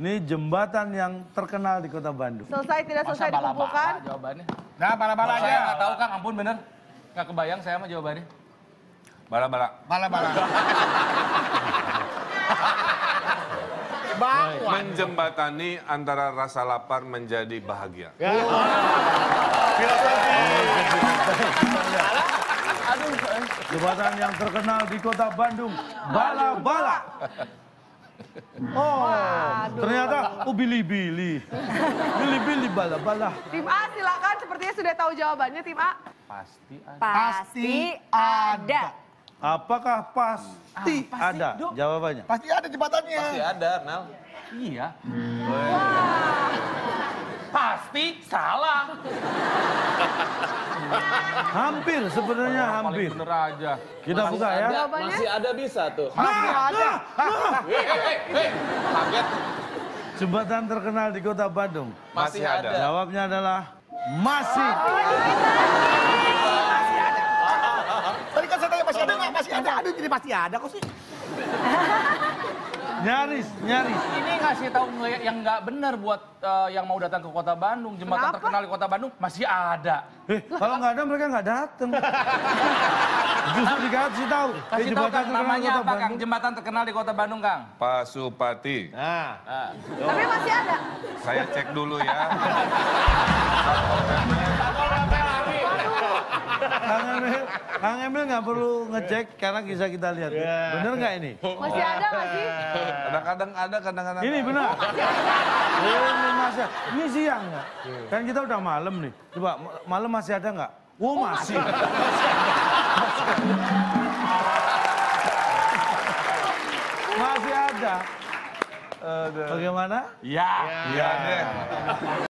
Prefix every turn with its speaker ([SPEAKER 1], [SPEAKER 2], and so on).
[SPEAKER 1] Ini jembatan yang terkenal di kota Bandung.
[SPEAKER 2] Selesai tidak
[SPEAKER 3] Masa
[SPEAKER 2] selesai
[SPEAKER 3] bala-bala
[SPEAKER 2] dikumpulkan.
[SPEAKER 3] jawabannya.
[SPEAKER 4] Nah, bala-bala
[SPEAKER 3] Saya nggak
[SPEAKER 4] aja.
[SPEAKER 3] tahu Kang, ampun bener. Nggak kebayang saya mah jawabannya.
[SPEAKER 5] Bala-bala.
[SPEAKER 4] Bala-bala.
[SPEAKER 5] Menjembatani antara rasa lapar menjadi bahagia.
[SPEAKER 1] Jembatan yang terkenal di kota Bandung. Bala-bala. Oh,
[SPEAKER 2] Waduh.
[SPEAKER 1] ternyata oh bili-bili. Bili-bili bala-bala.
[SPEAKER 2] Tim A silakan sepertinya sudah tahu jawabannya tim A.
[SPEAKER 3] Pasti ada.
[SPEAKER 6] Pasti ada.
[SPEAKER 1] Apakah pasti, ada jawabannya?
[SPEAKER 4] Pasti ada jembatannya.
[SPEAKER 7] Pasti ada, Nal.
[SPEAKER 3] Iya. Pasti salah.
[SPEAKER 1] Hampir sebenarnya
[SPEAKER 3] Paling
[SPEAKER 1] hampir.
[SPEAKER 3] bener aja.
[SPEAKER 1] Kita buka ya.
[SPEAKER 7] Ada,
[SPEAKER 2] Jawabannya?
[SPEAKER 7] masih ada bisa tuh.
[SPEAKER 3] Hei, hei, hei.
[SPEAKER 7] Kaget,
[SPEAKER 1] Jembatan terkenal di kota Bandung.
[SPEAKER 7] masih,
[SPEAKER 5] Masih
[SPEAKER 7] ada.
[SPEAKER 5] ada.
[SPEAKER 1] Jawabnya adalah masih.
[SPEAKER 4] Tadi kan saya tanya masih ada nggak? Masih ada. Aduh, jadi pasti ada kok sih.
[SPEAKER 1] Nyaris, nyaris.
[SPEAKER 3] Ini ngasih tahu ngeliat yang nggak bener buat eh, yang mau datang ke kota Bandung. Jembatan
[SPEAKER 2] Kenapa?
[SPEAKER 3] terkenal di kota Bandung masih ada.
[SPEAKER 1] Eh, kalau nggak ada mereka nggak datang. Justru dikasih tahu. Eh,
[SPEAKER 3] Kasih tahu
[SPEAKER 1] jembatan
[SPEAKER 3] Kang,
[SPEAKER 1] terkenal
[SPEAKER 3] namanya
[SPEAKER 1] kota
[SPEAKER 3] apa Kang?
[SPEAKER 1] Bandung.
[SPEAKER 3] Jembatan terkenal di kota Bandung Kang.
[SPEAKER 5] Pasupati.
[SPEAKER 2] Tapi masih ada.
[SPEAKER 5] Saya cek dulu ya.
[SPEAKER 1] Kang Emil, Kang Emil nggak perlu ngecek karena bisa kita lihat.
[SPEAKER 4] Iya.
[SPEAKER 1] Bener nggak ini?
[SPEAKER 3] Oh.
[SPEAKER 2] Masih ada nggak sih?
[SPEAKER 5] Kadang-kadang ada, kadang-kadang
[SPEAKER 1] Ini
[SPEAKER 5] ada.
[SPEAKER 1] benar. ya. Ini masih, ini siang nggak? Kan kita udah malam nih. Coba ma- malam masih ada nggak? Oh masih. Masih ada. Bagaimana?
[SPEAKER 3] Ya.
[SPEAKER 5] Iya deh.